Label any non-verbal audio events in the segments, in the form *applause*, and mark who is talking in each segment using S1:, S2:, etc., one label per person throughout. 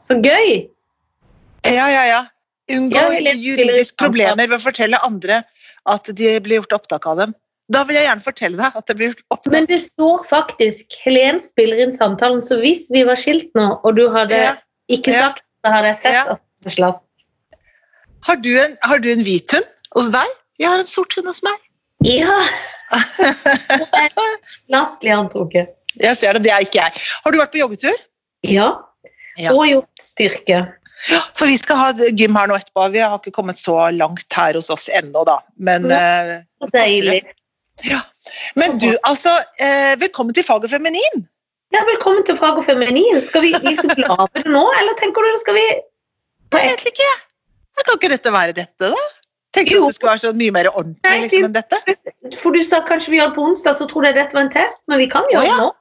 S1: Så gøy!
S2: Ja, ja, ja. Unngå
S1: Ja, jeg leser
S2: juridiske
S1: til det.
S2: problemer ved å fortelle andre at de blir gjort opptak av dem. Da vil jeg gjerne fortelle deg at det blir gjort opptak.
S1: Men det står faktisk 'Helen spiller inn samtalen', så hvis vi var skilt nå, og du hadde
S2: Ja.
S1: ikke
S2: Ja.
S1: sagt det, hadde jeg sett
S2: Ja.
S1: at det var slask.
S2: Har du en, har du en hvit hund hos deg? Jeg har en sort hund hos meg.
S1: *laughs* Ja! Slask blir antrukket.
S2: Jeg ser det, det er ikke jeg. Har du vært på joggetur?
S1: Ja.
S2: Ja.
S1: Og gjort styrke.
S2: For vi skal ha gym her nå etterpå. Vi har ikke kommet så langt her hos oss ennå, da. Men, eh,
S1: Så Deilig.
S2: men du, altså. eh, Velkommen til faget feminin.
S1: Ja, velkommen til Fag og feminin. Skal vi liksom lage det nå, eller tenker du det skal vi på
S2: Jeg
S1: ek-
S2: vet ikke. Da kan ikke dette være dette, da? Tenkte
S1: Jo.
S2: at det skulle være så mye mer ordentlig
S1: Nei,
S2: liksom, enn dette.
S1: For du sa kanskje vi gjør det på onsdag, så trodde jeg dette var en test, men vi kan gjøre
S2: Å, ja.
S1: det nå.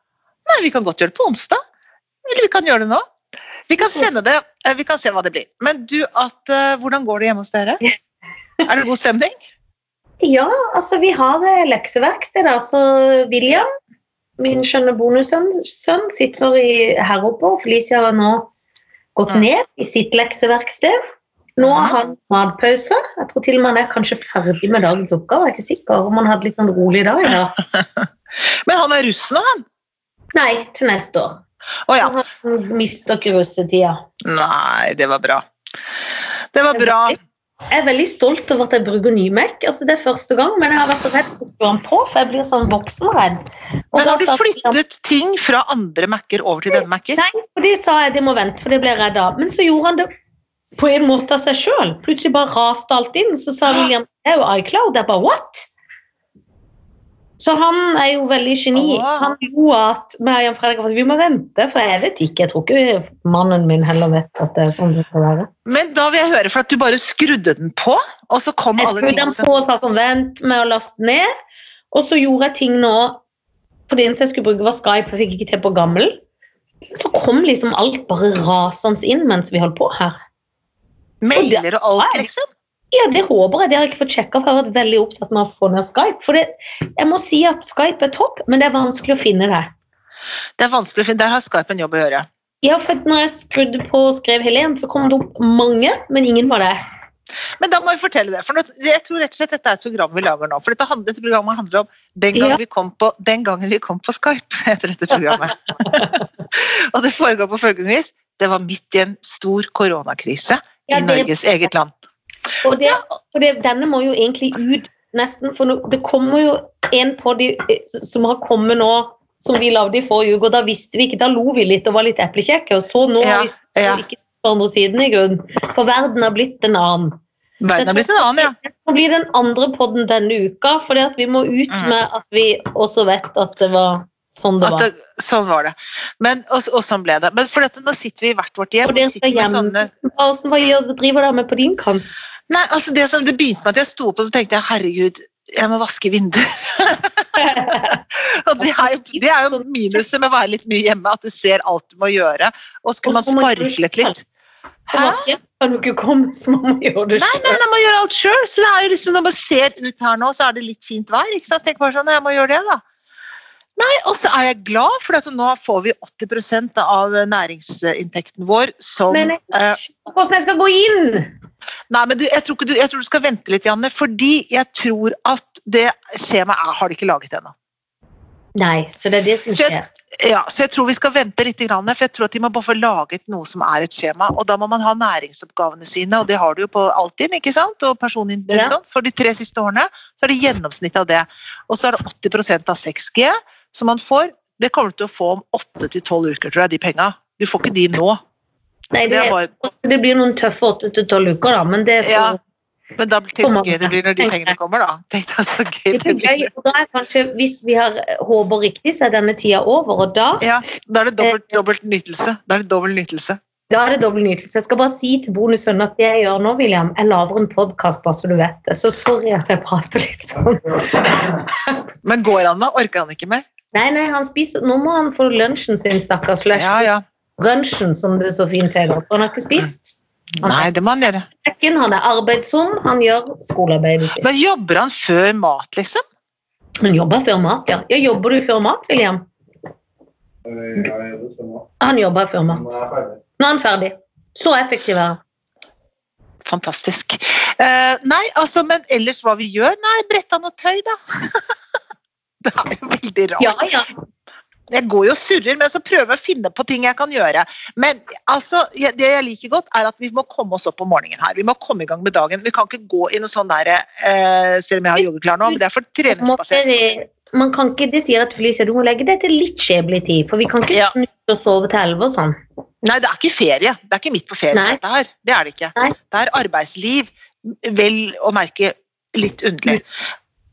S2: Nei, vi kan godt gjøre det på onsdag. Eller vi kan gjøre det nå. Vi kan sende det. eh, Vi kan se hva det blir. Men du, at, eh, hvordan går det hjemme hos dere? Er det god stemning?
S1: Ja, altså vi har eh, lekseverksted der, så William, min skjønne bonussønn, sønn, sitter i, her oppe, og Felicia har nå gått
S2: Mm.
S1: ned i sitt lekseverksted. Nå har han
S2: Mm.
S1: matpause. Jeg tror til og med han er kanskje ferdig med dagens oppgave. Jeg er ikke sikker om han hadde litt sånn rolig dag i
S2: *laughs*
S1: dag.
S2: Men han er russ nå, han.
S1: Nei, til neste år.
S2: Å ja.
S1: Han mister ikke russetida.
S2: Nei, det var bra. Det var bra.
S1: Jeg er veldig stolt over at jeg bruker ny Mac. Altså, det er første gang, men jeg har vært så redd for å skru den på, for jeg blir sånn voksenredd. Og
S2: Men
S1: da
S2: har du
S1: sa William,
S2: flyttet ting fra andre Mac-er over til denne Mac-en?
S1: Nei, for det sa jeg det må vente, for det ble jeg redd av. Men så gjorde han det på en måte av seg sjøl. Plutselig bare raste alt inn. Så sa William det er jo iCloud. Jeg bare what? Så han er jo veldig geni.
S2: Åh.
S1: Han lo at meg og Jan Fredrik var sånn, vi må vente, for jeg vet ikke. Jeg tror ikke mannen min heller vet at det er sånn det skal være.
S2: Men da vil jeg høre, for at du bare skrudde den på, og så kom
S1: Jeg
S2: alle
S1: skrudde
S2: ting
S1: den
S2: som
S1: på og sa sånn, vent med å laste ned. Og så gjorde jeg ting nå For det eneste jeg skulle bruke, var Skype, for jeg fikk ikke til på gammel. Så kom liksom alt bare rasende inn mens vi holdt på her.
S2: mailer og alt,
S1: Nei.
S2: liksom.
S1: Ja, det håper jeg. Det har jeg ikke fått sjekka, for jeg har vært veldig opptatt med å få ned Skype. For det, jeg må si at Skype er topp, men det er vanskelig å finne det.
S2: Det er vanskelig å finne. Der har Skype en jobb å gjøre.
S1: Ja, for at når jeg skrudde på og skrev Helen, så kom det opp mange, men ingen var det.
S2: Men da må vi fortelle det. For nå- jeg tror rett og slett dette er et program vi lager nå. For dette, hand- dette programmet handler om den gangen,
S1: Ja.
S2: vi, kom på, den gangen vi kom på Skype. *laughs* heter dette
S1: *laughs*
S2: programmet. og det foregår på følgende vis. Det var midt i en stor koronakrise
S1: Ja,
S2: i
S1: det-
S2: Norges eget land.
S1: Og, det, og det, denne må jo egentlig ut nesten, for nå, det kommer jo en på de eh, som har kommet nå, som vi lagde i forrige uke, og da visste vi ikke, da lo vi litt og var litt eplekjekke, og så nå
S2: Ja,
S1: visste vi
S2: ja.
S1: ikke på andre siden i grunnen, for verden har blitt en annen.
S2: Verden har blitt en annen, ja.
S1: Nå blir den andre podden denne uka, for vi må ut
S2: Mm.
S1: med at vi også vet at det var sånn det
S2: At
S1: var.
S2: det, sånn var det. Men, og, og sånn ble det. Men for dette, nå sitter vi i hvert vårt hjem.
S1: Og det
S2: og
S1: skal
S2: sitter med
S1: hjem.
S2: sånne
S1: Hva hva gjør, driver dere med på din kant?
S2: Nei, altså det som det begynte med at jeg sto opp og så tenkte jeg, herregud, jeg må vaske vinduer. *laughs* og det er, jo, det er jo minuset med å være litt mye hjemme, at du ser alt du må gjøre. Og skulle man
S1: Og så må man gjøre
S2: sparklet litt. Hæ?
S1: Hæ? Kan du ikke komme, *laughs* så må man gjøre det
S2: Nei, men jeg må gjøre alt sjøl. Så det er jo liksom, når man ser ut her nå, så er det litt fint vær. ikke sant? Tenk bare sånn, jeg må gjøre det, da. Nei, og så er jeg glad, for at nå får vi 80 av næringsinntekten vår som
S1: Men jeg
S2: eh,
S1: skjønner hvordan jeg skal gå inn!
S2: Nei, men du, jeg, tror ikke du, jeg tror du skal vente litt, Janne, fordi jeg tror at det skjemaet er, har de ikke laget ennå.
S1: Nei, så det er det som
S2: Så jeg-
S1: skjer.
S2: Ja, så jeg tror vi skal vente litt, grann, for jeg tror at de må bare få laget noe som er et skjema. Og da må man ha næringsoppgavene sine, og det har du jo på Altinn, ikke sant? Og personlig,
S1: Ja.
S2: sånn. For de tre siste årene så er det gjennomsnitt av det. Og så er det 80 av 6G som man får. Det kommer du til å få om 8-12 uker, tror jeg, de penga. Du får ikke de nå.
S1: Nei,
S2: Det
S1: det,
S2: er bare,
S1: det blir noen tøffe åtte til tolv uker, da, men det er
S2: Ja,
S1: for,
S2: men da blir det så gøy det blir når de pengene kommer, da. Tenk deg så
S1: det
S2: gøy det
S1: blir gøy.
S2: blir.
S1: Og da er kanskje, hvis vi har eh, håper riktig, så er denne tida over, og da,
S2: Ja, da er det dobbelt, dobbelt nytelse. Da er det dobbel nytelse.
S1: da er det dobbel nytelse. Jeg skal bare si til bonussønnen at det jeg gjør nå, William, jeg lager en podkast, bare så du vet det. Så sorry at jeg prater litt sånn.
S2: Men går han da? Orker han ikke mer?
S1: Nei, nei, han spiser Nå må han få lunsjen sin, stakkars. Slash
S2: Ja, ja.
S1: Lunsjen, som det så fint heter. For han har ikke spist.
S2: Nei, det må han gjøre.
S1: Kjøkken, Han er arbeidsom, han gjør skolearbeidet sitt.
S2: Men jobber han før mat, liksom?
S1: Han jobber før mat, ja. ja. Jobber du før mat, William?
S3: Jeg gjør det sånn nå.
S1: Han jobber før
S3: Nå
S1: mat.
S3: er jeg ferdig.
S1: Nå er han ferdig. Så effektiv er han.
S2: Fantastisk. Eh, nei, altså, men ellers hva vi gjør? Nei, bretta noe tøy, da. *laughs* det er jo veldig rart.
S1: Ja, ja.
S2: Jeg går jo og surrer, men så prøver jeg å finne på ting jeg kan gjøre. Men altså, jeg, det jeg liker godt, er at vi må komme oss opp om morgenen her. Vi må komme i gang med dagen. Vi kan ikke gå i noe sånn der, eh, selv om jeg har joggeklær nå, men det er for treningsbasert.
S1: Måtte- Man kan ikke, De sier at Felicia, du må legge deg til litt skjebnelig tid, for vi kan ikke
S2: Ja.
S1: snu og sove til elleve og sånn.
S2: Nei, det er ikke ferie. Det er ikke midt på ferie,
S1: Nei.
S2: dette her. Det er det ikke.
S1: Nei.
S2: Det er arbeidsliv. Vel å merke litt underlig.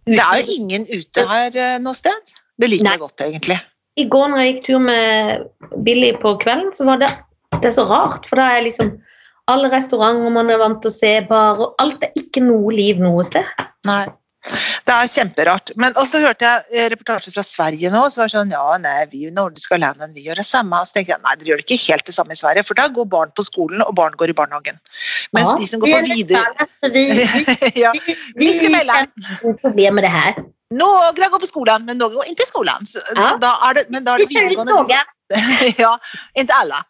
S2: Det er jo ingen ute her eh, noe sted. Det liker
S1: Nei.
S2: jeg godt, egentlig.
S1: I går når jeg gikk tur med Billy på kvelden, så var det det er så rart. For da er liksom alle restauranter man er vant til å se, barer og Alt er ikke noe liv noe sted.
S2: Nei. Det er kjemperart. Men også hørte jeg eh, reportasjer fra Sverige nå, som var sånn Ja, nei, vi i nordiske landene, vi gjør det samme. Og så tenkte jeg nei, dere gjør det ikke helt det samme i Sverige, for da går barn på skolen, og barn går i barnehagen. Mens
S1: Ja.
S2: de som går på
S1: Vi er
S2: videre
S1: litt fæle, Vi,
S2: *laughs* ja.
S1: vi, vi,
S2: Midt imellom.
S1: kjenner ikke blir med det her.
S2: Några går på skolen, men noen går ikke i skolen. Så,
S1: Ja.
S2: så da er det, men da er
S1: Vi
S2: det
S1: følger
S2: videregående
S1: toget.
S2: *laughs* ja, ikke alle.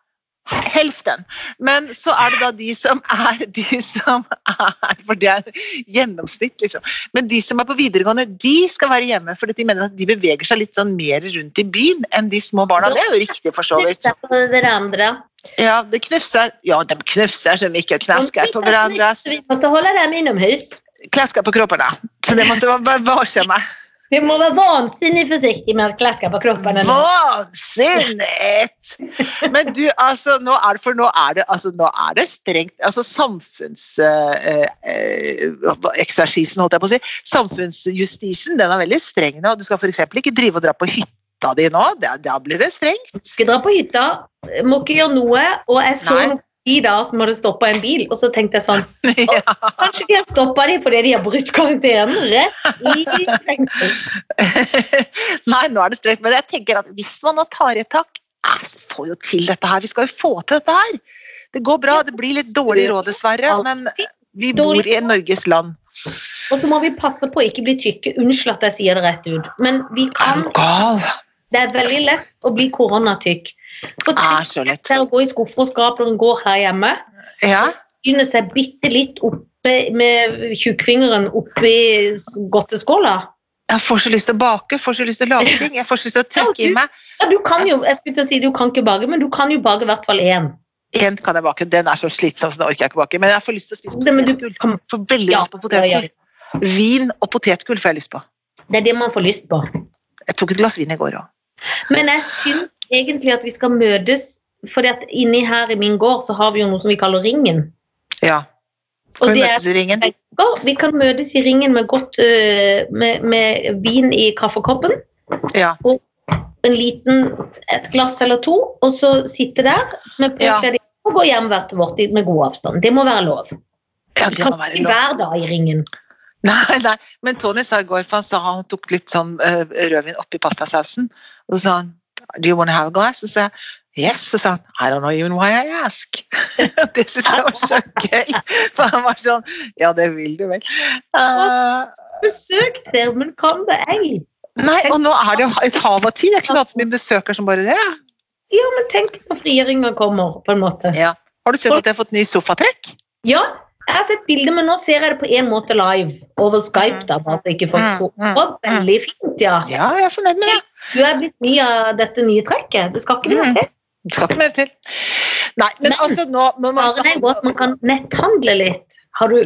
S2: Helften. Men så er det da de som er de som er For det er gjennomsnitt, liksom. Men de som er på videregående, de skal være hjemme. For de mener at de beveger seg litt sånn mer rundt i byen enn de små barna. Det er jo riktig, for så vidt.
S1: Det er det andre.
S2: Ja, det knufser. Ja, de knufser så mye og knasker på hverandre.
S1: Så vi måtte holde dem innomhus.
S2: Klasker på kroppene. Så det måtte være være varsomme.
S1: Du må være vansinnig forsiktig med å klaske på kroppen. nå.
S2: Vansinnet! Men du, altså, nå er det, for nå er det, altså, nå er det strengt altså Samfunnseksersisen, holdt jeg på å si. Samfunnsjustisen den er veldig streng nå. Du skal f.eks. ikke drive og dra på hytta di nå. Da, da blir det strengt. *laughs*
S1: Skal dra på hytta, må ikke gjøre noe. Og jeg så
S2: Nei.
S1: noen i dag som hadde stoppa en bil, og så tenkte jeg sånn
S2: Ja,
S1: Kanskje de har stoppa dem fordi de har brutt karantenen? Rett i fengsel.
S2: Nei, nå er det strengt. Men jeg tenker at hvis man nå tar et tak, eh, så får jo til dette her. Vi skal jo få til dette her. Det går bra. Det blir litt dårlig råd, dessverre. Men vi bor i Norges land.
S1: Og så må vi passe på å ikke bli tykke. Unnskyld at jeg sier det rett ut, men vi
S2: Er
S1: kan,
S2: du gal?
S1: det er veldig lett å bli koronatykk. For
S2: Det
S1: tenk
S2: er Ah, så lett.
S1: deg å gå i skuffer og skap når en går her hjemme.
S2: Ja.
S1: Begynne seg bitte litt oppe med tjukkfingeren oppi godteskåla.
S2: Jeg får så lyst til å bake, får så lyst til å lage ting. Jeg får så lyst til å trykke i meg.
S1: Ja, du kan jo, jeg skulle til å si du kan ikke bake, men du kan jo bake i hvert fall én.
S2: Én kan jeg bake, den er så slitsom, så den orker jeg ikke bake. Men jeg får lyst til å spise
S1: Det, men du
S2: potetgull.
S1: kan-
S2: Får veldig lyst på
S1: Ja, ja,
S2: potetgull. Vin og potetgull får jeg lyst på.
S1: det er det man får lyst på.
S2: Jeg tok et glass vin i går òg.
S1: Men jeg syns egentlig at vi skal møtes, for inni her i min gård så har vi jo noe som vi kaller Ringen.
S2: Ja.
S1: Og
S2: Skal vi
S1: det er-
S2: møtes i ringen?
S1: Ja, vi kan møtes i Ringen med, godt, øh, med, med vin i kaffekoppen,
S2: Ja.
S1: en liten, et glass eller to, og så sitte der med
S2: Ja.
S1: påkledd og gå hjem hvert vårt i- med god avstand. Det må være lov.
S2: ja,
S1: Vi
S2: det
S1: kan
S2: må
S1: ikke
S2: være lov.
S1: hver dag i Ringen.
S2: *laughs* Nei, nei. Men Tony sa i går, for han sa han tok litt sånn eh, rødvin oppi pastasausen, og så sa han Do you want to have a glass? Og så sa jeg Yes, så sa han I don't know even why I ask. *laughs* det syns jeg var så gøy. For han var sånn Ja, det vil du vel. Eh,
S1: Besøk der, men kan det ei?
S2: nei, og nå er det jo et hav av tid. Jeg kunne hatt så mye besøker som bare det.
S1: Ja, men tenk når frigjøringa kommer, på en måte.
S2: Ja. Har du sett at jeg har fått ny sofatrekk?
S1: Ja, jeg har sett bilder, men nå ser jeg det på en måte live over Skype. da, bare at jeg ikke får
S2: Mm,
S1: to.
S2: mm,
S1: Det var veldig fint, ja.
S2: Ja, jeg er fornøyd med det.
S1: Du er blitt ny av dette nye trekket. Det skal ikke
S2: Mm.
S1: være det.
S2: Det skal ikke mer til. Nei, men,
S1: Men,
S2: altså nå må man
S1: Bare det er godt man kan netthandle litt. Har du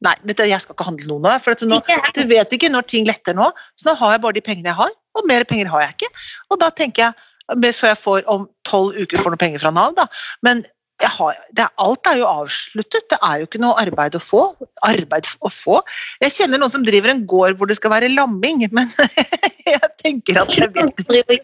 S2: Nei, vet du, jeg skal ikke handle noe nå. For at nå
S1: ikke her?
S2: Du vet ikke når ting letter nå, så nå har jeg bare de pengene jeg har, og mer penger har jeg ikke. Og da tenker jeg, men før jeg får om tolv uker får noen penger fra Nav, da. Men jeg har, det, er- alt er jo avsluttet, det er jo ikke noe arbeid å få. Arbeid f- å få. Jeg kjenner noen som driver en gård hvor det skal være lamming, men *laughs* jeg tenker at jeg vet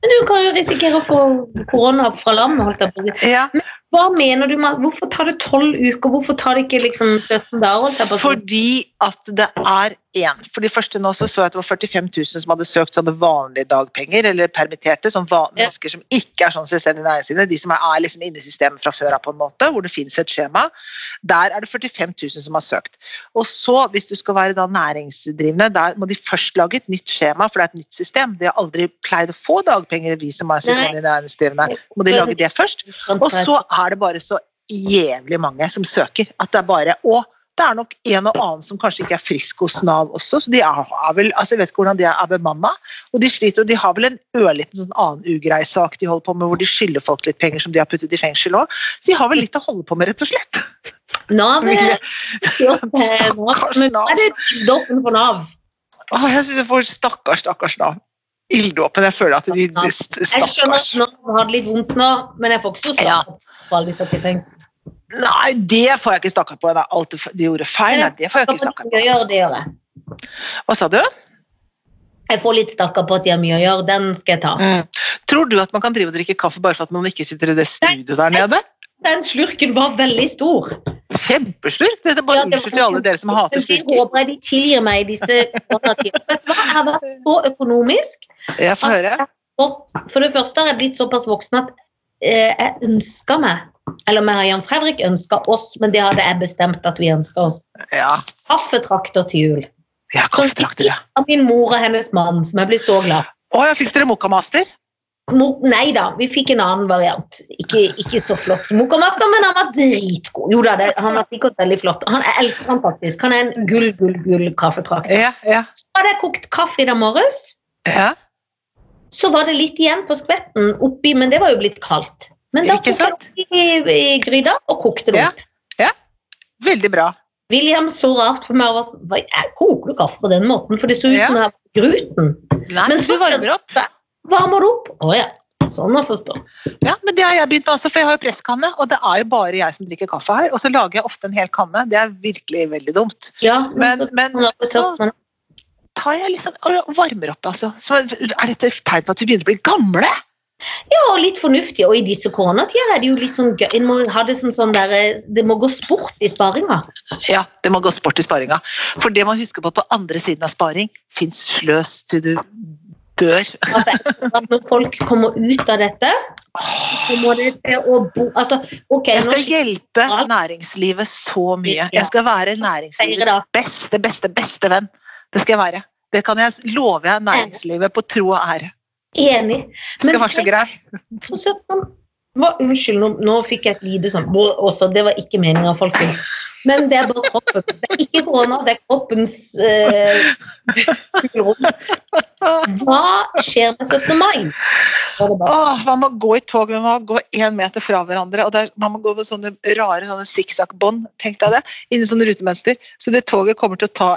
S1: Men du kan jo risikere å få korona fra lam. Holdt jeg på. å si.
S2: ja,
S1: Hva mener du med Hvorfor tar det tolv uker? Hvorfor tar det ikke liksom 17 dager? Holdt jeg på. å si?
S2: Fordi at det er én. For de første nå så, så jeg at det var 45 000 som hadde søkt sånne vanlige dagpenger, eller permitterte, som van
S1: Ja.
S2: mennesker som ikke er sånn selvstendig næringsdrivende, de som er, er liksom inne i systemet fra før av, på en måte, hvor det fins et skjema. Der er det 45 000 som har søkt. Og så, hvis du skal være da næringsdrivende, der må de først lage et nytt skjema, for det er et nytt system. De har aldri pleid å få dagpenger, vi som er selvstendig næringsdrivende. Må de lage det først? Og så er det bare så jævlig mange som søker. At det er bare Og det er nok en og annen som kanskje ikke er frisk hos Nav også, så de har vel altså Jeg vet ikke hvordan de er bemanna, og de sliter, og de har vel en ørliten sånn annen ugreisak de holder på med, hvor de skylder folk litt penger som de har puttet i fengsel òg. Så de har vel litt å holde på med, rett og slett.
S1: Nav er
S2: Stakkars
S1: Men nå
S2: Nav.
S1: er det dobbelt for Nav.
S2: Åh, jeg syns jeg får stakkars, stakkars Nav. Ilddåpen. Jeg føler at de sp-
S1: Jeg skjønner
S2: Stakkars.
S1: at Nav har det litt vondt nå, men jeg får ikke så
S2: Ja.
S1: stakkars for alle de som sitter i fengsel.
S2: Nei, det får jeg ikke stakkar på. Det er alt de f- de gjorde feil. Nei, det får jeg ikke
S1: Stakkars
S2: stakkar
S1: mye å
S2: på.
S1: gjøre, det gjør jeg.
S2: Hva sa du?
S1: Jeg får litt stakkar på at de har mye å gjøre, den skal jeg ta.
S2: Mm. Tror du at man kan drive og drikke kaffe bare for at man ikke sitter i det studioet der nede?
S1: Den slurken var veldig stor.
S2: Kjempeslurk! Dette er bare
S1: Ja, det var-
S2: unnskyld til alle dere som hater
S1: Men de
S2: slurker.
S1: håper jeg de tilgir meg i disse koronatider. Vet du hva, jeg har vært så økonomisk.
S2: Jeg får høre.
S1: Og for det første har jeg blitt såpass voksen at eh, jeg ønsker meg eller meg og Jan Fredrik ønsker oss, men det hadde jeg bestemt at vi ønsker oss.
S2: Ja,
S1: Kaffetrakter til jul.
S2: jeg har kaffetrakter, ja.
S1: Av min mor og hennes mann, som jeg blir så glad for.
S2: Å, jeg fikk dere Mokamaster?
S1: Mo- Nei da, vi fikk en annen variant. Ikke, ikke så flott som Mokkamaster, men han var dritgod. Jo da, det, han var sikkert veldig flott. Han, jeg elsker han faktisk. Han er en gull, gull, gull kaffetrakt.
S2: Ja, ja.
S1: Så hadde jeg kokt kaffe i dag morges,
S2: ja.
S1: så var det litt igjen på skvetten oppi, men det var jo blitt kaldt. Men da
S2: Ikke
S1: tok jeg det oppi i, i gryta og kokte det
S2: Ja.
S1: opp.
S2: Veldig bra. «Å,
S1: William så rart på meg og var sånn «Hva, jeg Koker du kaffe på den måten? For det så ut
S2: Ja.
S1: som det var gluten.
S2: Nei,
S1: Men
S2: men du
S1: så-
S2: varmer opp.
S1: Varmer det opp? Å ja. Sånn å forstå.
S2: Ja, men det har jeg begynt med også, for jeg har jo presskanne, og det er jo bare jeg som drikker kaffe her. Og så lager jeg ofte en hel kanne. Det er virkelig veldig dumt.
S1: Ja, men,
S2: Men,
S1: så,
S2: men så tar jeg liksom og varmer opp, altså. Så er dette et tegn på at vi begynner å bli gamle?
S1: Ja, og litt fornuftig. Og i disse koronatider er det jo litt sånn gøy. En må ha det som sånn der eh, Det må gå sport i sparinga.
S2: Ja, det må gå sport i sparinga. For det man husker på på andre siden av sparing, fins sløs til du dør.
S1: Altså, jeg tror at når folk kommer ut av dette, så må det til å bo Altså, OK,
S2: Jeg
S1: nå
S2: skal hjelpe næringslivet så mye. Jeg skal være næringslivets beste, beste, beste venn. Det skal jeg være. Det kan jeg love jeg næringslivet på tro og ære.
S1: er jeg enig.
S2: Jeg skal være så grei.
S1: på 17 Hva- Unnskyld, nå, nå fikk jeg et lite sånn «Å, også, Det var ikke meninga, folkens. Men det er bare kroppen. Det er ikke korona, det er kroppens
S2: *laughs*
S1: eh, hulrom. Hva skjer med 17. mai? Så er det bare,
S2: Åh, man må gå i tog, men man må gå én meter fra hverandre. og det er- Man må gå med sånne rare sånne sikksakk-bånd, tenk deg det, inni sånne rutemønster. Så det toget kommer til å ta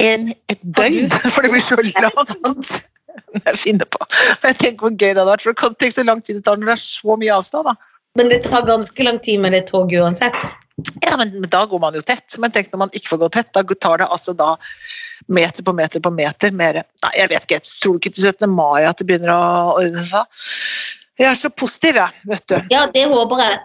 S2: en, et døgn, *laughs* for det blir så langt. Jeg finner på. Men jeg tenker hvor gøy det hadde vært. for kan- Tenk så lang tid det tar når det er så mye avstand. da.
S1: Men det tar ganske lang tid med det toget uansett.
S2: Ja, men, men Da går man jo tett. Men tenk når man ikke får gå tett. Da tar det altså da meter på meter på meter mer Nei, jeg vet ikke. Jeg tror ikke til 17. mai at det begynner å ordne seg. Jeg er så positiv, jeg, vet du.
S1: Ja, det håper jeg.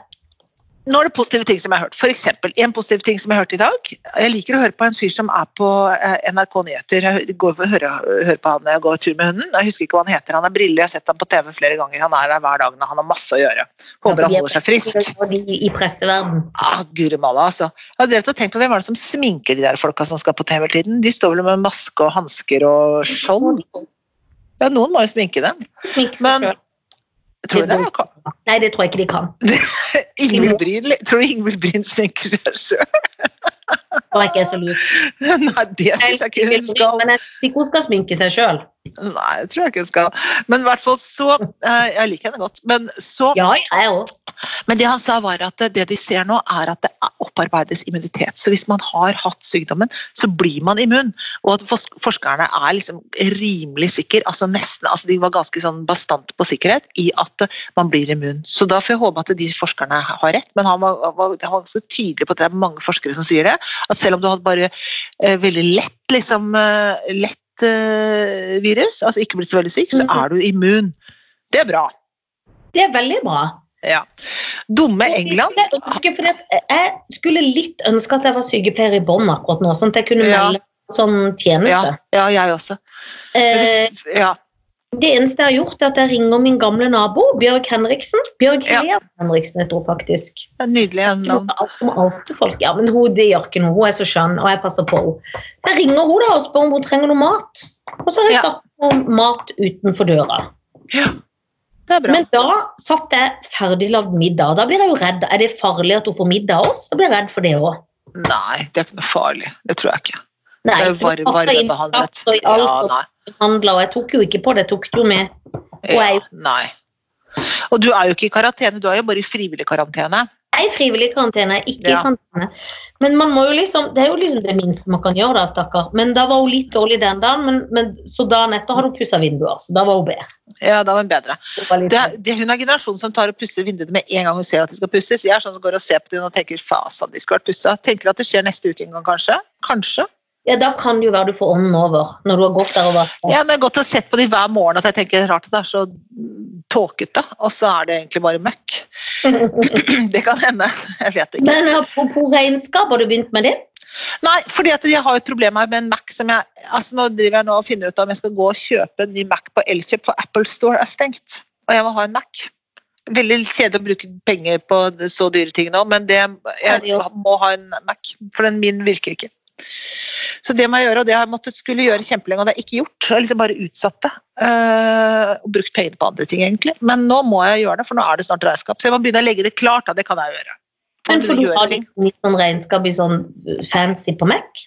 S2: Nå er det positive ting som jeg har hørt. For eksempel, en positiv ting som jeg hørte i dag. Jeg liker å høre på en fyr som er på eh, NRK Nyheter. Jeg går, hører, hører på han når jeg går tur med hunden. Jeg husker ikke hva han heter. Han har briller, jeg har sett ham på TV flere ganger. Han er der hver dag når han har masse å gjøre. Håper han holder seg frisk.
S1: Og de i presseverden.
S2: Ah, Guri malla, altså. Jeg har drevet og tenkt på hvem er det som sminker de der folka som skal på TV hele tiden. De står vel med maske og hansker og skjold. Ja, noen må jo sminke dem.
S1: Sminke seg
S2: Men
S1: selv.
S2: tror du det?
S1: Nei, det tror jeg ikke de kan.
S2: Ingvild Bryn, tror du Ingvild Bryn sminker seg sjøl?
S1: For jeg ikke er så lur.
S2: *laughs* Nei, det syns jeg ikke hun skal.
S1: Men jeg syns ikke hun skal sminke seg sjøl.
S2: Nei, det tror jeg ikke hun skal. Men i hvert fall så eh, Jeg liker henne godt. Men, så,
S1: Ja, jeg òg.
S2: men det han sa, var at det de ser nå, er at det er- opparbeides immunitet. Så hvis man har hatt sykdommen, så blir man immun. Og at fors- forskerne er liksom rimelig sikre, altså nesten altså De var ganske sånn bastante på sikkerhet i at eh, man blir immun. Så da får jeg håpe at de forskerne har rett, men han var, var, han var ganske tydelig på at det er mange forskere som sier det. At selv om du har bare eh, veldig lett, liksom, eh, lett eh, virus, altså ikke blitt så veldig syk, så
S1: Mhm.
S2: er du immun. Det er bra.
S1: Det er veldig bra.
S2: Ja. Dumme England.
S1: Jeg skulle ønske- fordi at eh, jeg skulle litt ønske at jeg var sykepleier i bånn akkurat nå, sånn at jeg kunne
S2: Ja.
S1: melde som
S2: Ja,
S1: tjeneste.
S2: ja, jeg også.
S1: Eh,
S2: Ja.
S1: det eneste jeg har gjort, er at jeg ringer min gamle nabo, Bjørg Henriksen. Bjørg
S2: Ja.
S1: Helene Henriksen, jeg tror faktisk.
S2: Nydelig navn.
S1: Alt om alt til folk. Ja, men hun, det gjør ikke noe. Hun er så skjønn, og jeg passer på henne. Så jeg ringer hun da og spør om hun trenger noe mat. Og så har jeg
S2: Ja.
S1: satt noe mat utenfor døra.
S2: Ja. Det er bra.
S1: Men da satt jeg ferdiglagd middag. Da blir jeg jo redd. Er det farlig at hun får middag av oss? Da blir jeg redd for det òg.
S2: Nei, det er ikke noe farlig. Det tror jeg ikke.
S1: Nei,
S2: Det er jo
S1: for
S2: var,
S1: jeg passer inn i
S2: varmebehandlet.
S1: alt og i alt
S2: Ja,
S1: og
S2: nei.
S1: handlet, og jeg tok jo ikke på det, jeg tok det jo med. Og
S2: Ja,
S1: jeg-
S2: nei. Og du er jo ikke i karantene, du er jo bare i frivillig karantene.
S1: Jeg er frivillig i karantene, ikke
S2: Ja.
S1: i karantene. Men man må jo liksom, det er jo liksom det minste man kan gjøre, da, stakkar. Men da var hun litt dårlig den dagen, men, men, så dagen etter hadde hun pussa vinduer. Så da var hun bedre.
S2: Ja, da var hun bedre.
S1: Hun var litt-
S2: Det, er- det, hun er generasjonen som tar og pusser vinduene med en gang hun ser at de skal pusses. Jeg er sånn som går og ser på dem og tenker fasan, de skulle vært pussa. Tenker at det skjer neste uke en gang, kanskje. Kanskje.
S1: Ja, da kan det jo være du får ånden over, når du har gått der og vært der.
S2: Ja, men jeg har gått og sett på dem hver morgen at jeg tenker rart at det er så mm, tåkete, og så er det egentlig bare møkk. *clears throat* Det kan hende. Jeg vet ikke.
S1: *laughs* Men apropos regnskap, har du begynt med det?
S2: Nei, fordi at jeg har et problem her med en Mac som jeg altså Nå driver jeg nå og finner ut om jeg skal gå og kjøpe en ny Mac på Elkjøp, for Apple Store er stengt. Og jeg må ha en Mac. Veldig kjedelig å bruke penger på så dyre ting nå, men det, jeg må ha en Mac, for den min virker ikke. Så det må jeg gjøre, og det har jeg måttet skulle gjøre kjempelenge, og det er ikke gjort. Jeg har liksom bare utsatt det. eh, og brukt pengene på andre ting, egentlig. Men nå må jeg gjøre det, for nå er det snart regnskap. Så jeg må begynne å legge det klart, da. Det kan jeg gjøre.
S1: Men
S2: Og
S1: for du
S2: gjøre
S1: har
S2: ting.
S1: litt litt sånn regnskap i sånn fancy på Mac?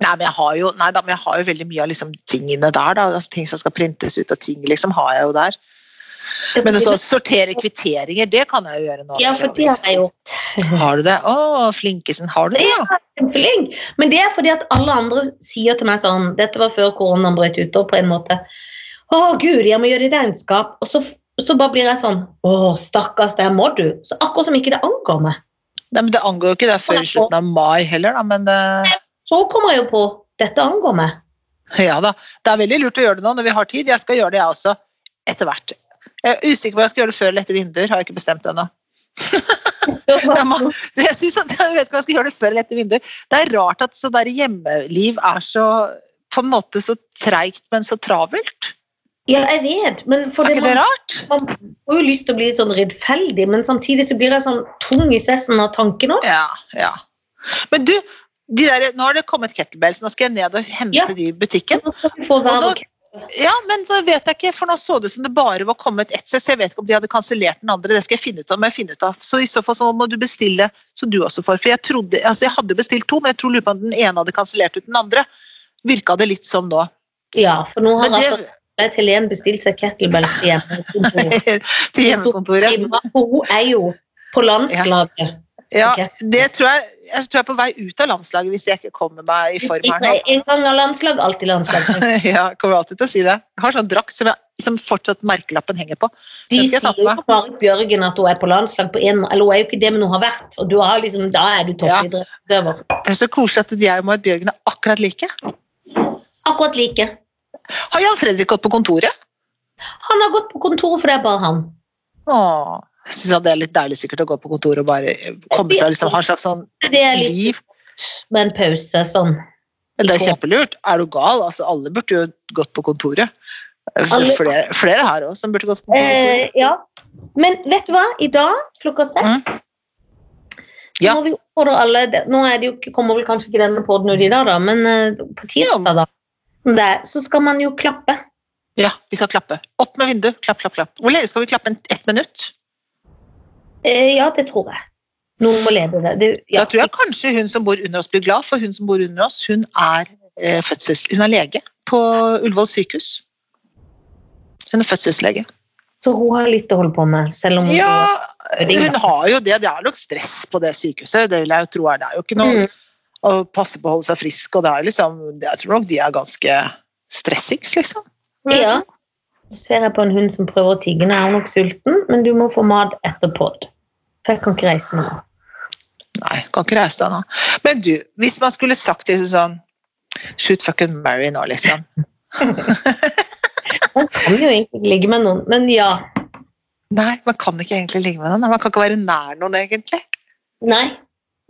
S2: Nei, men jeg har jo, nei da, men jeg har jo veldig mye av liksom, tingene der. Da. Altså, ting som skal printes ut og ting liksom, har jeg jo der. Men også å sortere kvitteringer, det kan jeg jo gjøre nå.
S1: Ja, for det har jeg gjort.
S2: Har du det? Å, flinkesen, har du det? Ja.
S1: Kjempeflink. Men det er fordi at alle andre sier til meg sånn Dette var før koronaen brøt ut, og på en måte Å, gud, jeg må gjøre regnskap. Og så, så bare blir jeg sånn Å, stakkars, der må du. Så akkurat som ikke det angår meg.
S2: Nei, men det angår jo ikke det før i slutten av mai heller, da, men eh,
S1: Så kommer jeg jo på Dette angår meg.
S2: *laughs* ja da. Det er veldig lurt å gjøre det nå når vi har tid. Jeg skal gjøre det, jeg også. Etter hvert. Jeg er usikker på om jeg skal gjøre det før eller etter vinduer, har jeg ikke bestemt ennå. *laughs* Ja, men- Så Jeg, synes at, jeg vet ikke om jeg skal gjøre det før eller etter vinduer. Det er rart at så der hjemmeliv er så på en måte så treigt, men så travelt.
S1: Ja, jeg vet, men for
S2: Er
S1: det
S2: ikke det
S1: man,
S2: rart?
S1: man får jo lyst til å bli litt sånn rettferdig, men samtidig så blir jeg sånn tung i sessen av tanken òg.
S2: Ja, ja. Men du, de der, nå har det kommet kettlebells, nå skal jeg ned og hente
S1: Ja.
S2: de i butikken.
S1: Nå skal vi få hver
S2: Og da-
S1: vår
S2: Ja, men så vet jeg ikke, for nå så det ut som det bare var kommet ett sett, så jeg vet ikke om de hadde kansellert den andre. Det skal jeg finne ut av. må jeg finne ut av. Så i så fall så må du bestille så du også får. For jeg trodde, altså jeg hadde bestilt to, men jeg tror lurer på om den ene hadde kansellert ut den andre. Virka det litt som nå. *laughs*
S1: Ja, for nå har
S2: Men
S1: altså
S2: det,
S1: Jeg til Helen bestilte seg kettlebells til hjemmekontoret.
S2: til hjemmekontoret
S1: For hun er jo på landslaget.
S2: Ja, det tror jeg, jeg tror jeg er på vei ut av landslaget hvis jeg ikke kommer meg i form her nå.
S1: En gang av landslag, alltid
S2: *laughs*
S1: landslag.
S2: Ja, jeg kommer alltid til å si det. Jeg har sånn drakt som, jeg, som fortsatt merkelappen henger på.
S1: De
S2: Det skal jeg ta
S1: sier
S2: på
S1: jo
S2: meg.
S1: Marit Bjørgen at hun er på landslag på en måte, eller hun er jo ikke det, men hun har vært. Og du har liksom, da er du toppidrettsutøver.
S2: Det er så koselig at jeg og Marit Bjørgen er akkurat like.
S1: Akkurat like.
S2: Har Jan Fredrik gått på kontoret?
S1: Han har gått på kontoret, for det er bare han.
S2: Åh, jeg synes han det er litt deilig sikkert å gå på kontoret og bare komme seg og liksom, ha en slags sånn
S1: Det er litt
S2: liv.
S1: med en pause, sånn.
S2: Men det er kjempelurt. Er du gal? Altså, alle burde jo gått på kontoret.
S1: Alle-
S2: Flere, flere her òg som burde gått på
S1: Eh,
S2: kontoret.
S1: ja. Men vet du hva? I dag klokka seks så
S2: Mm. Ja.
S1: må vi oppfordre alle Nå er det jo, ikke- kommer vel kanskje ikke denne podden ut i dag, da, men eh, på tirsdag, da. Der, så skal man jo klappe.
S2: Ja, vi skal klappe. Opp med vinduet. Klapp, klapp, klapp. Hvor lenge skal vi klappe? En- Ett minutt?
S1: Eh, ja, det tror jeg. Noen må lede det. det ja.
S2: Da tror jeg kanskje hun som bor under oss blir glad, for hun som bor under oss, hun er, eh, fødsels, hun er lege på Ullevål sykehus. Hun er fødselslege.
S1: Så hun har litt å holde på med, selv om hun
S2: Ja,
S1: Sånn, ring,
S2: hun
S1: da.
S2: har jo det. Det er nok stress på det sykehuset. Det vil jeg jo tro er. Det er jo ikke noe
S1: Mm.
S2: å passe på å holde seg frisk, og det er liksom Jeg tror nok de er ganske stressings, liksom.
S1: Mm. ja. Nå ser jeg på en hund som prøver å tigge. Nå er hun nok sulten, men du må få mat etter pod. For jeg kan ikke reise nå.
S2: Nei, kan ikke reise deg nå. Men du, hvis man skulle sagt liksom sånn Shoot fucking Mary nå, liksom.
S1: Man kan jo egentlig ikke ligge med noen, men ja.
S2: Nei, man kan ikke egentlig ligge med noen. Man kan ikke være nær noen, egentlig.
S1: Nei.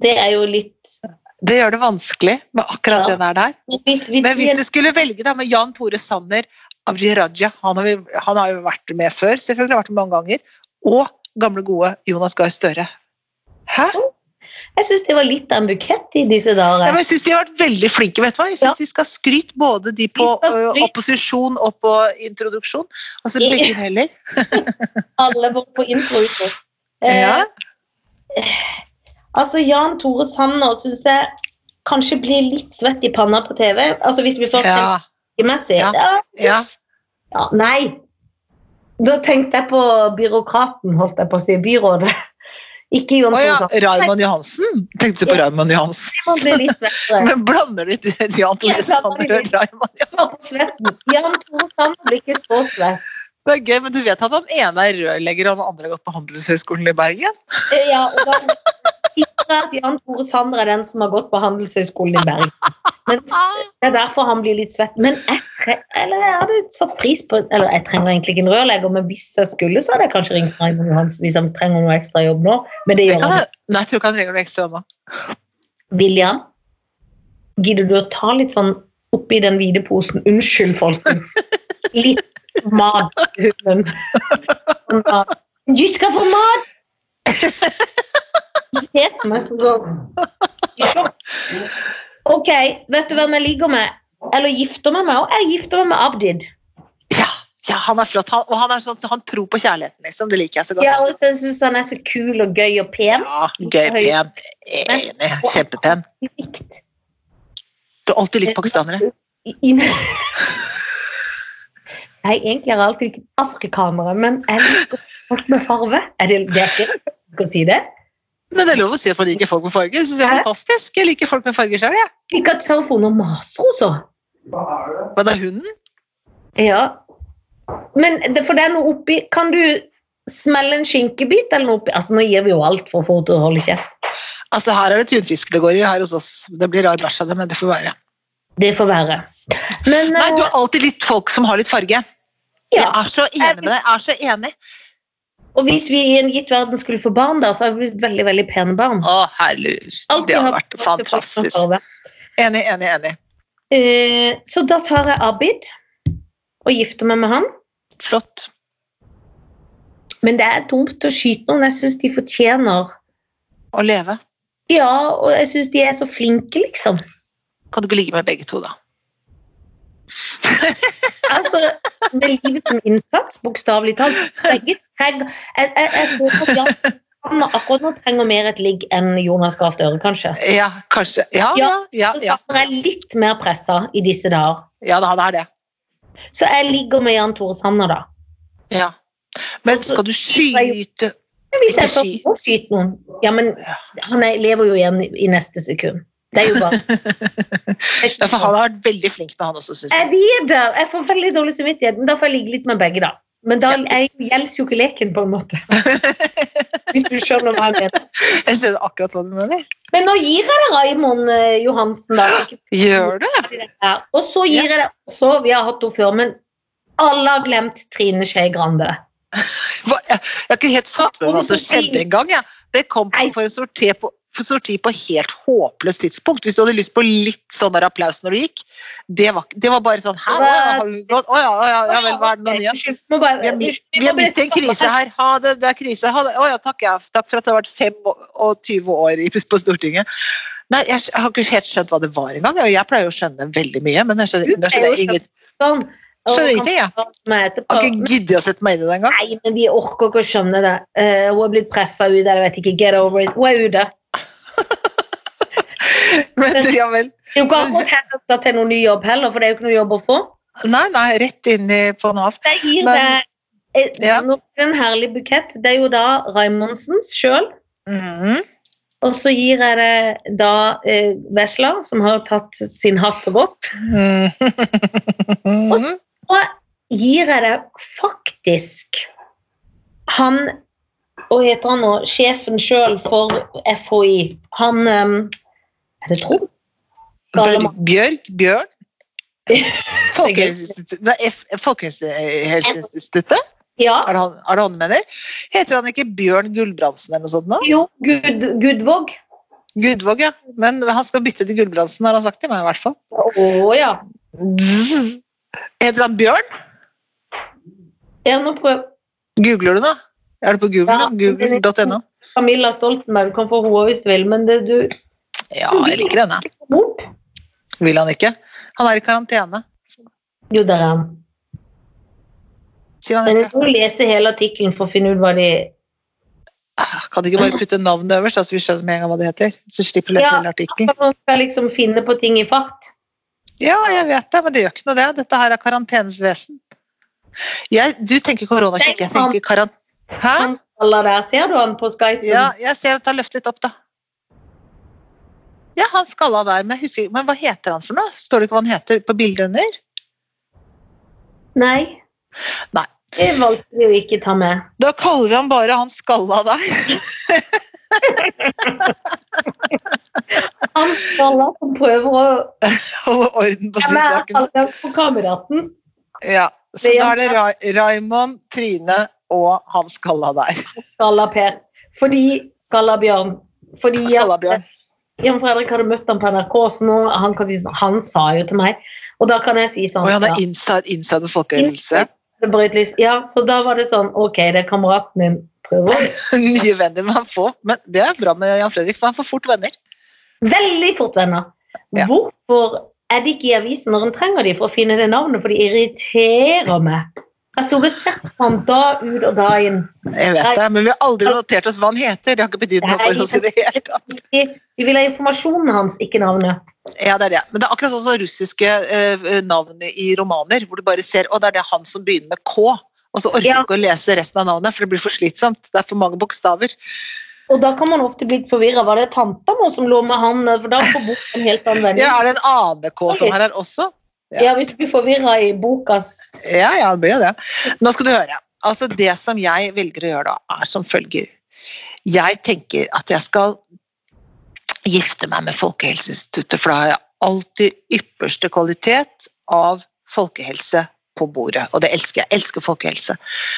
S1: Det er jo litt
S2: Det gjør det vanskelig med
S1: Ja.
S2: akkurat det der der.
S1: Men hvis, hvis,
S2: Men hvis du skulle velge da med Jan Tore Sanner, Abdi Raja, han har, vi, han har jo vært med før, selvfølgelig har vært med mange ganger, og gamle gode Jonas Gahr Støre. Hæ?
S1: Jeg syns det var litt av en bukett i disse
S2: Ja,
S1: dager.
S2: men jeg syns de har vært veldig flinke. vet du hva? Jeg synes
S1: Ja.
S2: De skal skryte både de på
S1: De skal
S2: ø,
S1: skryte.
S2: opposisjon og på introduksjon. Altså
S1: Ja.
S2: begge deler.
S1: Alle var på intro. intro. Eh,
S2: Ja.
S1: Altså, Jan Tore Sanner syns jeg kanskje blir litt svett i panna på TV. Altså, hvis vi får
S2: Ja.
S1: tenkemessig.
S2: Ja.
S1: Ja.
S2: ja.
S1: Ja, nei. Da tenkte jeg på byråkraten, holdt jeg på å si. Byrådet. *laughs* Ikke Jon
S2: Å
S1: Tore
S2: ja,
S1: Sanner.
S2: Raymond Johansen. Tenkte på
S1: Sånn Ja.
S2: Raymond Johansen.
S1: Man blir litt svettere.
S2: Men blander litt Jan
S1: Ja,
S2: Tore
S1: blander
S2: Sanner og
S1: litt.
S2: Raymond Johansen.
S1: Bare på svetten. Jan Tore Sanner blir ikke så svett.
S2: Det er gøy, men du vet at han ene er rørlegger og den andre har gått på Handelshøyskolen i Bergen?
S1: Eh, Ja, og da tipper jeg at Jan Tore Sanner er den som har gått på Handelshøyskolen i Bergen. Men Det er derfor han blir litt svett. Men jeg, tre eller jeg hadde satt pris på Eller jeg trenger egentlig ikke en rørlegger, men hvis jeg skulle, så hadde jeg kanskje ringt Raymond Johansen hvis han trenger noe ekstra jobb nå. Men det
S2: Det
S1: gjør
S2: kan
S1: han
S2: jeg, nei, jeg tror ikke han trenger noe ekstra nå.
S1: William, gidder du å ta litt sånn oppi den hvite posen? Unnskyld, folkens. Litt mat til hunden. Sånn da, Du skal få mat! De ser på meg som sånn i sjokk. OK, vet du hvem jeg ligger med? Eller gifter meg med? Og jeg gifter meg med Abdid.
S2: Ja, ja, han er flott. Han, og han er sånn, han tror på kjærligheten, liksom. Det liker jeg så godt.
S1: Ja, og Jeg syns han er så kul og gøy og pen.
S2: Ja, gøy, pen. Enig. Kjempepen.
S1: Likt.
S2: Du har alltid likt pakistanere.
S1: I- i- Nei, egentlig har jeg alltid likt afrikanere, men jeg liker folk med farve. Er det, det er ikke rett at jeg skal si det.
S2: Men det er lov å si at man liker folk med farger. Jeg synes det er fantastisk. Jeg liker folk med farger selv, jeg.
S1: Jeg liker tørrfone og maser,
S2: Men det er hunden.
S1: Ja. Men det, for det er noe oppi Kan du smelle en skinkebit eller noe oppi? Altså, nå gir vi jo alt for fort å holde kjeft.
S2: Altså, her er det tunfisk det går i her hos oss. Det blir rar bæsj av det, men det får være.
S1: Det får være. Men
S2: Nei, du
S1: eh,
S2: har alltid likt folk som har litt farge. Jeg
S1: ja.
S2: er så enig med deg. Jeg er så enig.
S1: Og hvis vi i en gitt verden skulle få barn, da, så hadde vi blitt veldig, veldig pene barn.
S2: Å, herregud.
S1: Alltid
S2: Det har
S1: hatt
S2: vært
S1: folk med
S2: fantastisk.
S1: farve.
S2: Enig, enig, enig.
S1: Eh, så da tar jeg Abid og gifter meg med han.
S2: Flott.
S1: Men det er dumt å skyte noen. Jeg syns de fortjener
S2: Å leve.
S1: Ja, og jeg syns de er så flinke, liksom.
S2: Kan du ikke ligge med begge to, da?
S1: Altså, Med livet som innsats, bokstavelig talt. Begge trenger Jeg, jeg, jeg håper at Jan Sanner akkurat nå trenger mer et ligg enn Jonas Gahr Støre, kanskje.
S2: Ja, kanskje. Ja, ja,
S1: Ja,
S2: ja.
S1: Så
S2: ja.
S1: Sanner er litt mer pressa i disse dager.
S2: ja da, det er det.
S1: Så jeg ligger med Jan Tore Sanner, da.
S2: Ja. Men skal du skyte
S1: Men hvis jeg
S2: Ikke
S1: først
S2: sky.
S1: må skyte noen Ja, men han er, lever jo igjen i, i neste sekund. Det er jo
S2: *laughs*
S1: bare
S2: Ja, for Han har vært veldig flink med han også, syns jeg.
S1: Jeg vet det! Jeg får veldig dårlig samvittighet, men da får jeg ligge litt med begge, da. Men da jeg gjelder jo ikke leken, på en måte. *laughs* Hvis du skjønner hva jeg mener.
S2: Jeg skjønner akkurat hva du mener.
S1: Men nå gir jeg deg Raymond eh, Johansen, da. Ikke
S2: Gjør du?
S1: ferdig dette her. Og så gir jeg deg også, vi har hatt henne før, men alle har glemt Trine Skei Grande.
S2: Hva- Jeg jeg har ikke helt fått med meg hva som skjedde engang. jeg. Det kom på- for en sorti på, for sorti på helt håpløst tidspunkt. Hvis du hadde lyst på litt sånn der applaus når du gikk, det var, det var bare sånn Hæ, hva har du gått? Å ja, å ja, ja vel, hva er det nå igjen?
S1: Unnskyld, må bare-
S2: Vi er, midt, vi er midt i en krise her. Ha det, det er krise. Ha det. Å ja, takk, ja. takk for at det har vært 25 år i- på Stortinget. Nei, jeg, jeg har ikke helt skjønt hva det var engang. og Jeg pleier jo å skjønne veldig mye, men jeg skjønner, jeg skjønner, ingen,
S1: Sånn. Og
S2: skjønner
S1: kan
S2: ingenting, jeg.
S1: prate med etterpå.
S2: Har ikke giddet å sette meg inn i det engang. *laughs*
S1: Nei, men vi orker ikke å skjønne det. Eh, hun er blitt pressa ut, jeg vet ikke. Get over it. Hun er ute.
S2: Men ja vel.
S1: Det er jo ikke akkurat her hun skal til noen ny jobb heller, for det er jo ikke noe jobb å få.
S2: Nei, nei, rett inn i, på Nav.
S1: Det gir
S2: Men-
S1: deg eh,
S2: Ja.
S1: nå blir det en herlig bukett. Det er jo da Raymondsens sjøl,
S2: Mhm.
S1: og så gir jeg det da eh, Vesla, som har tatt sin hatt for godt.
S2: Mhm.
S1: Og- Gir jeg det faktisk han Hva heter han nå? Sjefen sjøl for FHI. Han eh, Er det Trond?
S2: *laughs* Bør- Bjørg? Bjørn? Folkehelseinstituttet? Nei, F- Folkehelseinstituttet?
S1: Ja.
S2: Er det han- er det han du mener? Heter han ikke Bjørn Gulbrandsen eller noe sånt nå?
S1: Jo, Gud, Gudvåg.
S2: Gudvåg, ja. Men han skal bytte til Gulbrandsen, har han sagt til meg i hvert fall.
S1: Å ja.
S2: Zzz. Heter han Bjørn?
S1: Jeg må prøve.
S2: Googler du nå? Er du på Google?
S1: Ja,
S2: nå? Google.no?
S1: Camilla Stoltenberg kan få henne hvis du vil, men det du
S2: Ja, jeg liker henne.
S1: Opp.
S2: Vil han ikke? Han er i karantene.
S1: Jo, der er han.
S2: Sier han
S1: Men jeg
S2: ikke.
S1: må jo lese hele artikkelen for å finne ut hva de
S2: Ah, Kan du ikke bare putte navnet øverst, da, så vi skjønner med en gang hva det heter? Så slipper du å lese
S1: Ja.
S2: hele artikkelen.
S1: Man skal liksom finne på ting i fart.
S2: Ja, jeg vet det, men det gjør ikke noe det. Dette her er karantenens vesen. Jeg, du tenker koronakirke, jeg tenker karan... Hæ?
S1: Han skaller der. Ser du han på Skype?
S2: Ja, jeg ser at han løfter litt opp, da. Ja, han skalla der, men, jeg husker, ikke- men hva heter han for noe? Står det ikke hva han heter på bildet under?
S1: Nei.
S2: Nei.
S1: Det valgte vi å ikke ta med.
S2: Da kaller vi han bare han skalla der.
S1: Han skaller som prøver å
S2: Holde orden på sysakene.
S1: være på kameraten.
S2: Ja, så da er det Ra Raimond, Trine og han skalla der.
S1: Skalla Per. Fordi Skalla Bjørn. Fordi at-
S2: Skalla Bjørn.
S1: Jan Fredrik hadde møtt ham på NRK, så nå, han, kan si, sånn, han sa jo til meg Og da kan jeg si sånn
S2: Og han
S1: ja.
S2: er inside, inside folkehelse. *laughs*
S1: Det brøt lys. Ja, så da var det sånn OK, det er kameraten din. Prøver.
S2: Nye venner men han får. Men det er bra med Jan Fredrik, for han får fort venner.
S1: Veldig fort, venner.
S2: Ja.
S1: Hvorfor er det ikke i avisen når en trenger dem for å finne det navnet? For de irriterer meg. Jeg så det sett han da ut og da inn.
S2: Jeg vet det, men vi har aldri notert oss hva han heter. Det har ikke betydd noe for oss i det hele tatt.
S1: Vi vi vil ha informasjonen hans, ikke navnet.
S2: Ja, det er det. Men det er akkurat sånn som russiske eh, navn i romaner, hvor du bare ser å, det er det han som begynner med K. Og så orker du
S1: Ja.
S2: ikke å lese resten av navnet, for det blir for slitsomt. Det er for mange bokstaver.
S1: Og da kan man ofte bli forvirra. Var det tanta vår som lå med han? For da får bort en helt annen vending.
S2: *laughs* Ja, Er det en annen K som her er også?
S1: ja. hvis du blir forvirra i bokas
S2: Ja, ja, det blir jo det. Nå skal du høre. Altså, det som jeg velger å gjøre da, er som følger. Jeg tenker at jeg skal gifte meg med Folkehelseinstituttet, for da har jeg alltid ypperste kvalitet av folkehelse på bordet. Og det elsker jeg. Jeg elsker folkehelse.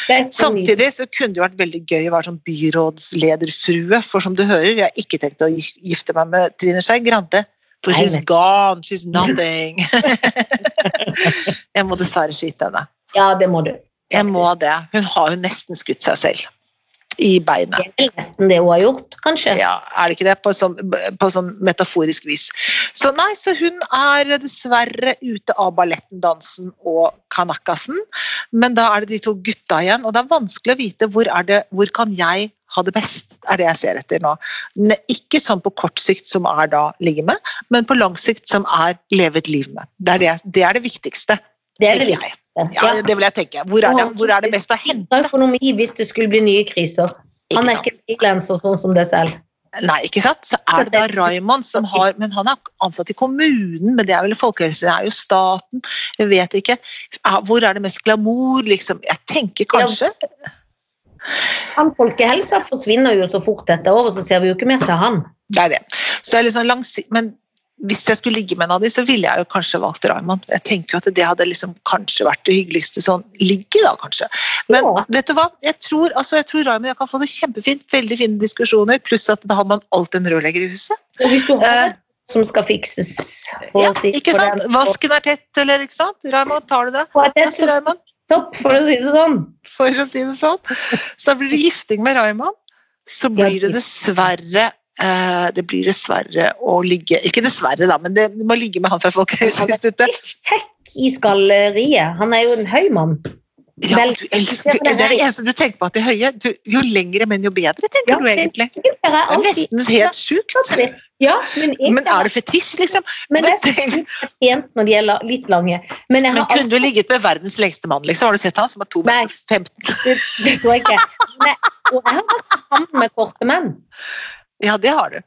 S1: det er så mye.
S2: Samtidig så kunne det jo vært veldig gøy å være sånn byrådslederfrue, for som du hører, jeg har ikke tenkt å gi- gifte meg med Trine Skei Grande. For
S1: Nei,
S2: she's
S1: vet
S2: gone, she's nothing. *laughs* jeg må dessverre skyte henne.
S1: Ja, det må du.
S2: Jeg må det. Hun har jo nesten skutt seg selv i
S1: Det
S2: beinet.
S1: er vel nesten det hun har gjort, kanskje.
S2: Ja, er det ikke det? På sånn, på sånn metaforisk vis. Så nei, så hun er dessverre ute av ballettendansen og kanakkasen. Men da er det de to gutta igjen, og det er vanskelig å vite hvor, er det, hvor kan jeg ha det best, er det jeg ser etter nå. Ne- Ikke sånn på kort sikt som er da ligge med, men på lang sikt som er leve et liv med. Det er det, det, er det viktigste.
S1: det er det
S2: tenker
S1: viktigste.
S2: jeg. Ja, det vil jeg tenke. Hvor er det, hvor er det mest å hente?
S1: Henta økonomi hvis det skulle bli nye kriser.
S2: Ikke
S1: Han er
S2: sant?
S1: ikke frilanser sånn som det selv.
S2: Nei, ikke sant? Så er det da Raymond som har Men han er ansatt i kommunen, men det er vel folkehelse, det er jo staten, jeg vet ikke. Ja, Hvor er det mest glamour, liksom? Jeg tenker kanskje
S1: Han folkehelsa forsvinner jo så fort dette året, så ser vi jo ikke mer til han.
S2: Det er det. Så det er litt sånn langsiktig Men hvis jeg skulle ligge med en av de, så ville jeg jo kanskje valgt Raymond. Jeg tenker jo at det hadde liksom kanskje vært det hyggeligste sånn ligge, da, kanskje. Men
S1: Ja.
S2: vet du hva? Jeg tror, altså, jeg tror Raymond og jeg kan få det kjempefint. Veldig fine diskusjoner. Pluss at da har man alltid en rørlegger i huset.
S1: Og hvis du har
S2: Eh.
S1: noe som skal fikses for
S2: Ja,
S1: å si
S2: ikke
S1: for
S2: sant?
S1: den-
S2: Vasken er tett, eller ikke sant? Raymond, tar du det?
S1: for at det er
S2: Ja,
S1: så
S2: til Raymond,
S1: topp, for å si det sånn.
S2: for å si det sånn. Så da blir det gifting med Raymond. Så blir det dessverre eh, det blir dessverre å ligge Ikke dessverre, da, men det, du må ligge med han fra Folkehøgskolen.
S1: Sjekk i skalleriet. Han er jo en høy mann.
S2: Ja, du elsker Det er det eneste du tenker på at de høye. Du, jo lengre menn, jo bedre, tenker
S1: Ja,
S2: du egentlig.
S1: Det er
S2: Det er
S1: alltid
S2: nesten helt sjukt.
S1: *laughs* Ja, men, jeg-
S2: Men er det fetisj, liksom?
S1: men det er
S2: tenk-
S1: pent når de er la- litt lange. Men jeg har
S2: men
S1: alltid
S2: kunne du ligget med verdens lengste mann, liksom? Har du sett han som er 2,15
S1: Nei.
S2: meter? femten? *laughs*
S1: Det, det tror jeg ikke. Men jeg, og jeg har vært sammen med korte menn,
S2: Ja, det har du.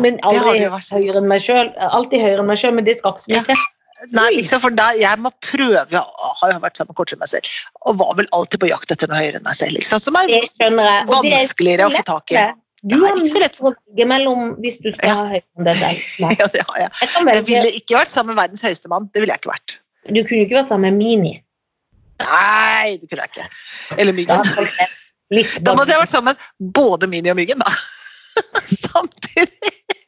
S1: men
S2: har
S1: aldri
S2: du vært.
S1: høyere enn meg sjøl. Alltid høyere enn meg sjøl, men det skal ikke så mye
S2: Ja.
S1: til.
S2: Nei, liksom, for da, jeg må prøve Jeg har jo vært sammen kortere enn meg selv, og var vel alltid på jakt etter noe høyere enn meg selv. Ikke sant? Som er
S1: Det skjønner jeg. Og det er
S2: vanskeligere å få tak i.
S1: lettere. Du har
S2: Nei, ikke så
S1: mye
S2: lett.
S1: å velge mellom hvis du skal
S2: Ja.
S1: ha høyere enn det der.
S2: *laughs*
S1: Nei.
S2: Ja, det har jeg.
S1: Jeg kan
S2: Jeg
S1: velge.
S2: ville ikke vært sammen med verdens høyeste mann. Det ville jeg ikke vært.
S1: Du kunne jo ikke vært sammen med Mini.
S2: Nei, det kunne jeg ikke. Eller
S1: Da
S2: Myggen.
S1: hadde folk vært litt
S2: Da måtte jeg vært sammen med både Mini og Myggen, da. *laughs* Samtidig.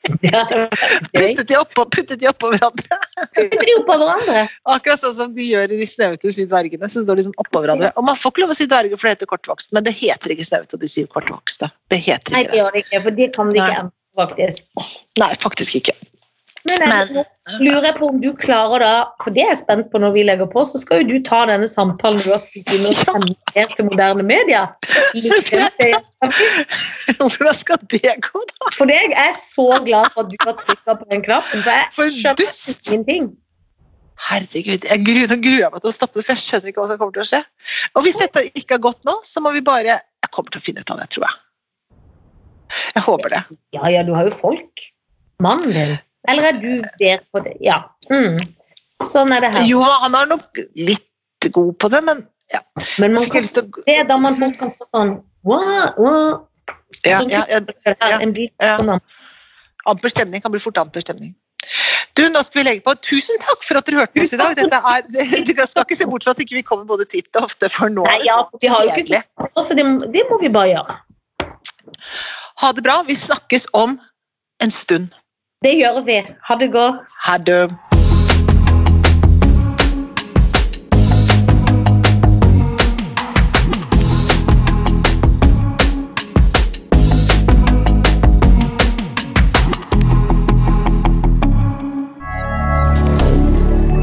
S1: *laughs* Ja, det var
S2: *laughs*
S1: gøy.
S2: Puttet de oppå, puttet de oppå hverandre.
S1: Putter de oppå hverandre?
S2: Akkurat sånn som de gjør i de snaute syv dvergene. så står de sånn oppå hverandre. Og man får ikke lov å si dverger, for det heter kortvokst, men det heter ikke snaute og de syv kortvokste. Det heter
S1: Nei, det
S2: ikke det.
S1: gjør de ikke, for det kan de ikke
S2: Nei.
S1: endre, faktisk.
S2: Nei, faktisk ikke.
S1: Men jeg
S2: Men-
S1: lurer jeg på om du klarer da, for det er jeg spent på når vi legger på, så skal jo du ta denne samtalen du har spilt inn og sende ned til moderne media.
S2: Hvordan skal det gå, da?
S1: For det jeg er så glad for at du har trykka på den knappen, for
S2: For
S1: jeg skjønner
S2: dust!
S1: ingenting.
S2: Herregud, jeg gruer, nå gruer jeg meg til å stoppe det, for jeg skjønner ikke hva som kommer til å skje. Og hvis dette ikke har gått nå, så må vi bare Jeg kommer til å finne ut av det, tror jeg. Jeg håper det.
S1: Ja, ja, du har jo folk. Mannen din. Eller er du der på det? Ja. Mm. Sånn er det her.
S2: Jo, han er nok litt god på det, men ja.
S1: Men
S2: Jeg
S1: man
S2: fikk
S1: kan
S2: lyst til å
S1: se da man man kan få sånn «Wah, wah».
S2: ja,
S1: Sånn
S2: ja, ja,
S1: type-
S2: ja,
S1: En bit
S2: ja.
S1: sånn
S2: Amper stemning kan bli fort amper stemning. Du, nå skal vi legge på. Tusen takk for at dere hørte på oss i dag. Dette er, *laughs* du skal ikke se bort fra at ikke vi ikke kommer både titt og ofte, for nå
S1: Nei,
S2: er det
S1: ja, vi har jo ikke
S2: kjedelig.
S1: Så Altså, det, det må vi bare gjøre.
S2: Ha det bra. Vi snakkes om en stund.
S1: Det gjør vi. Ha det godt.
S2: Ha det.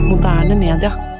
S3: Moderne media.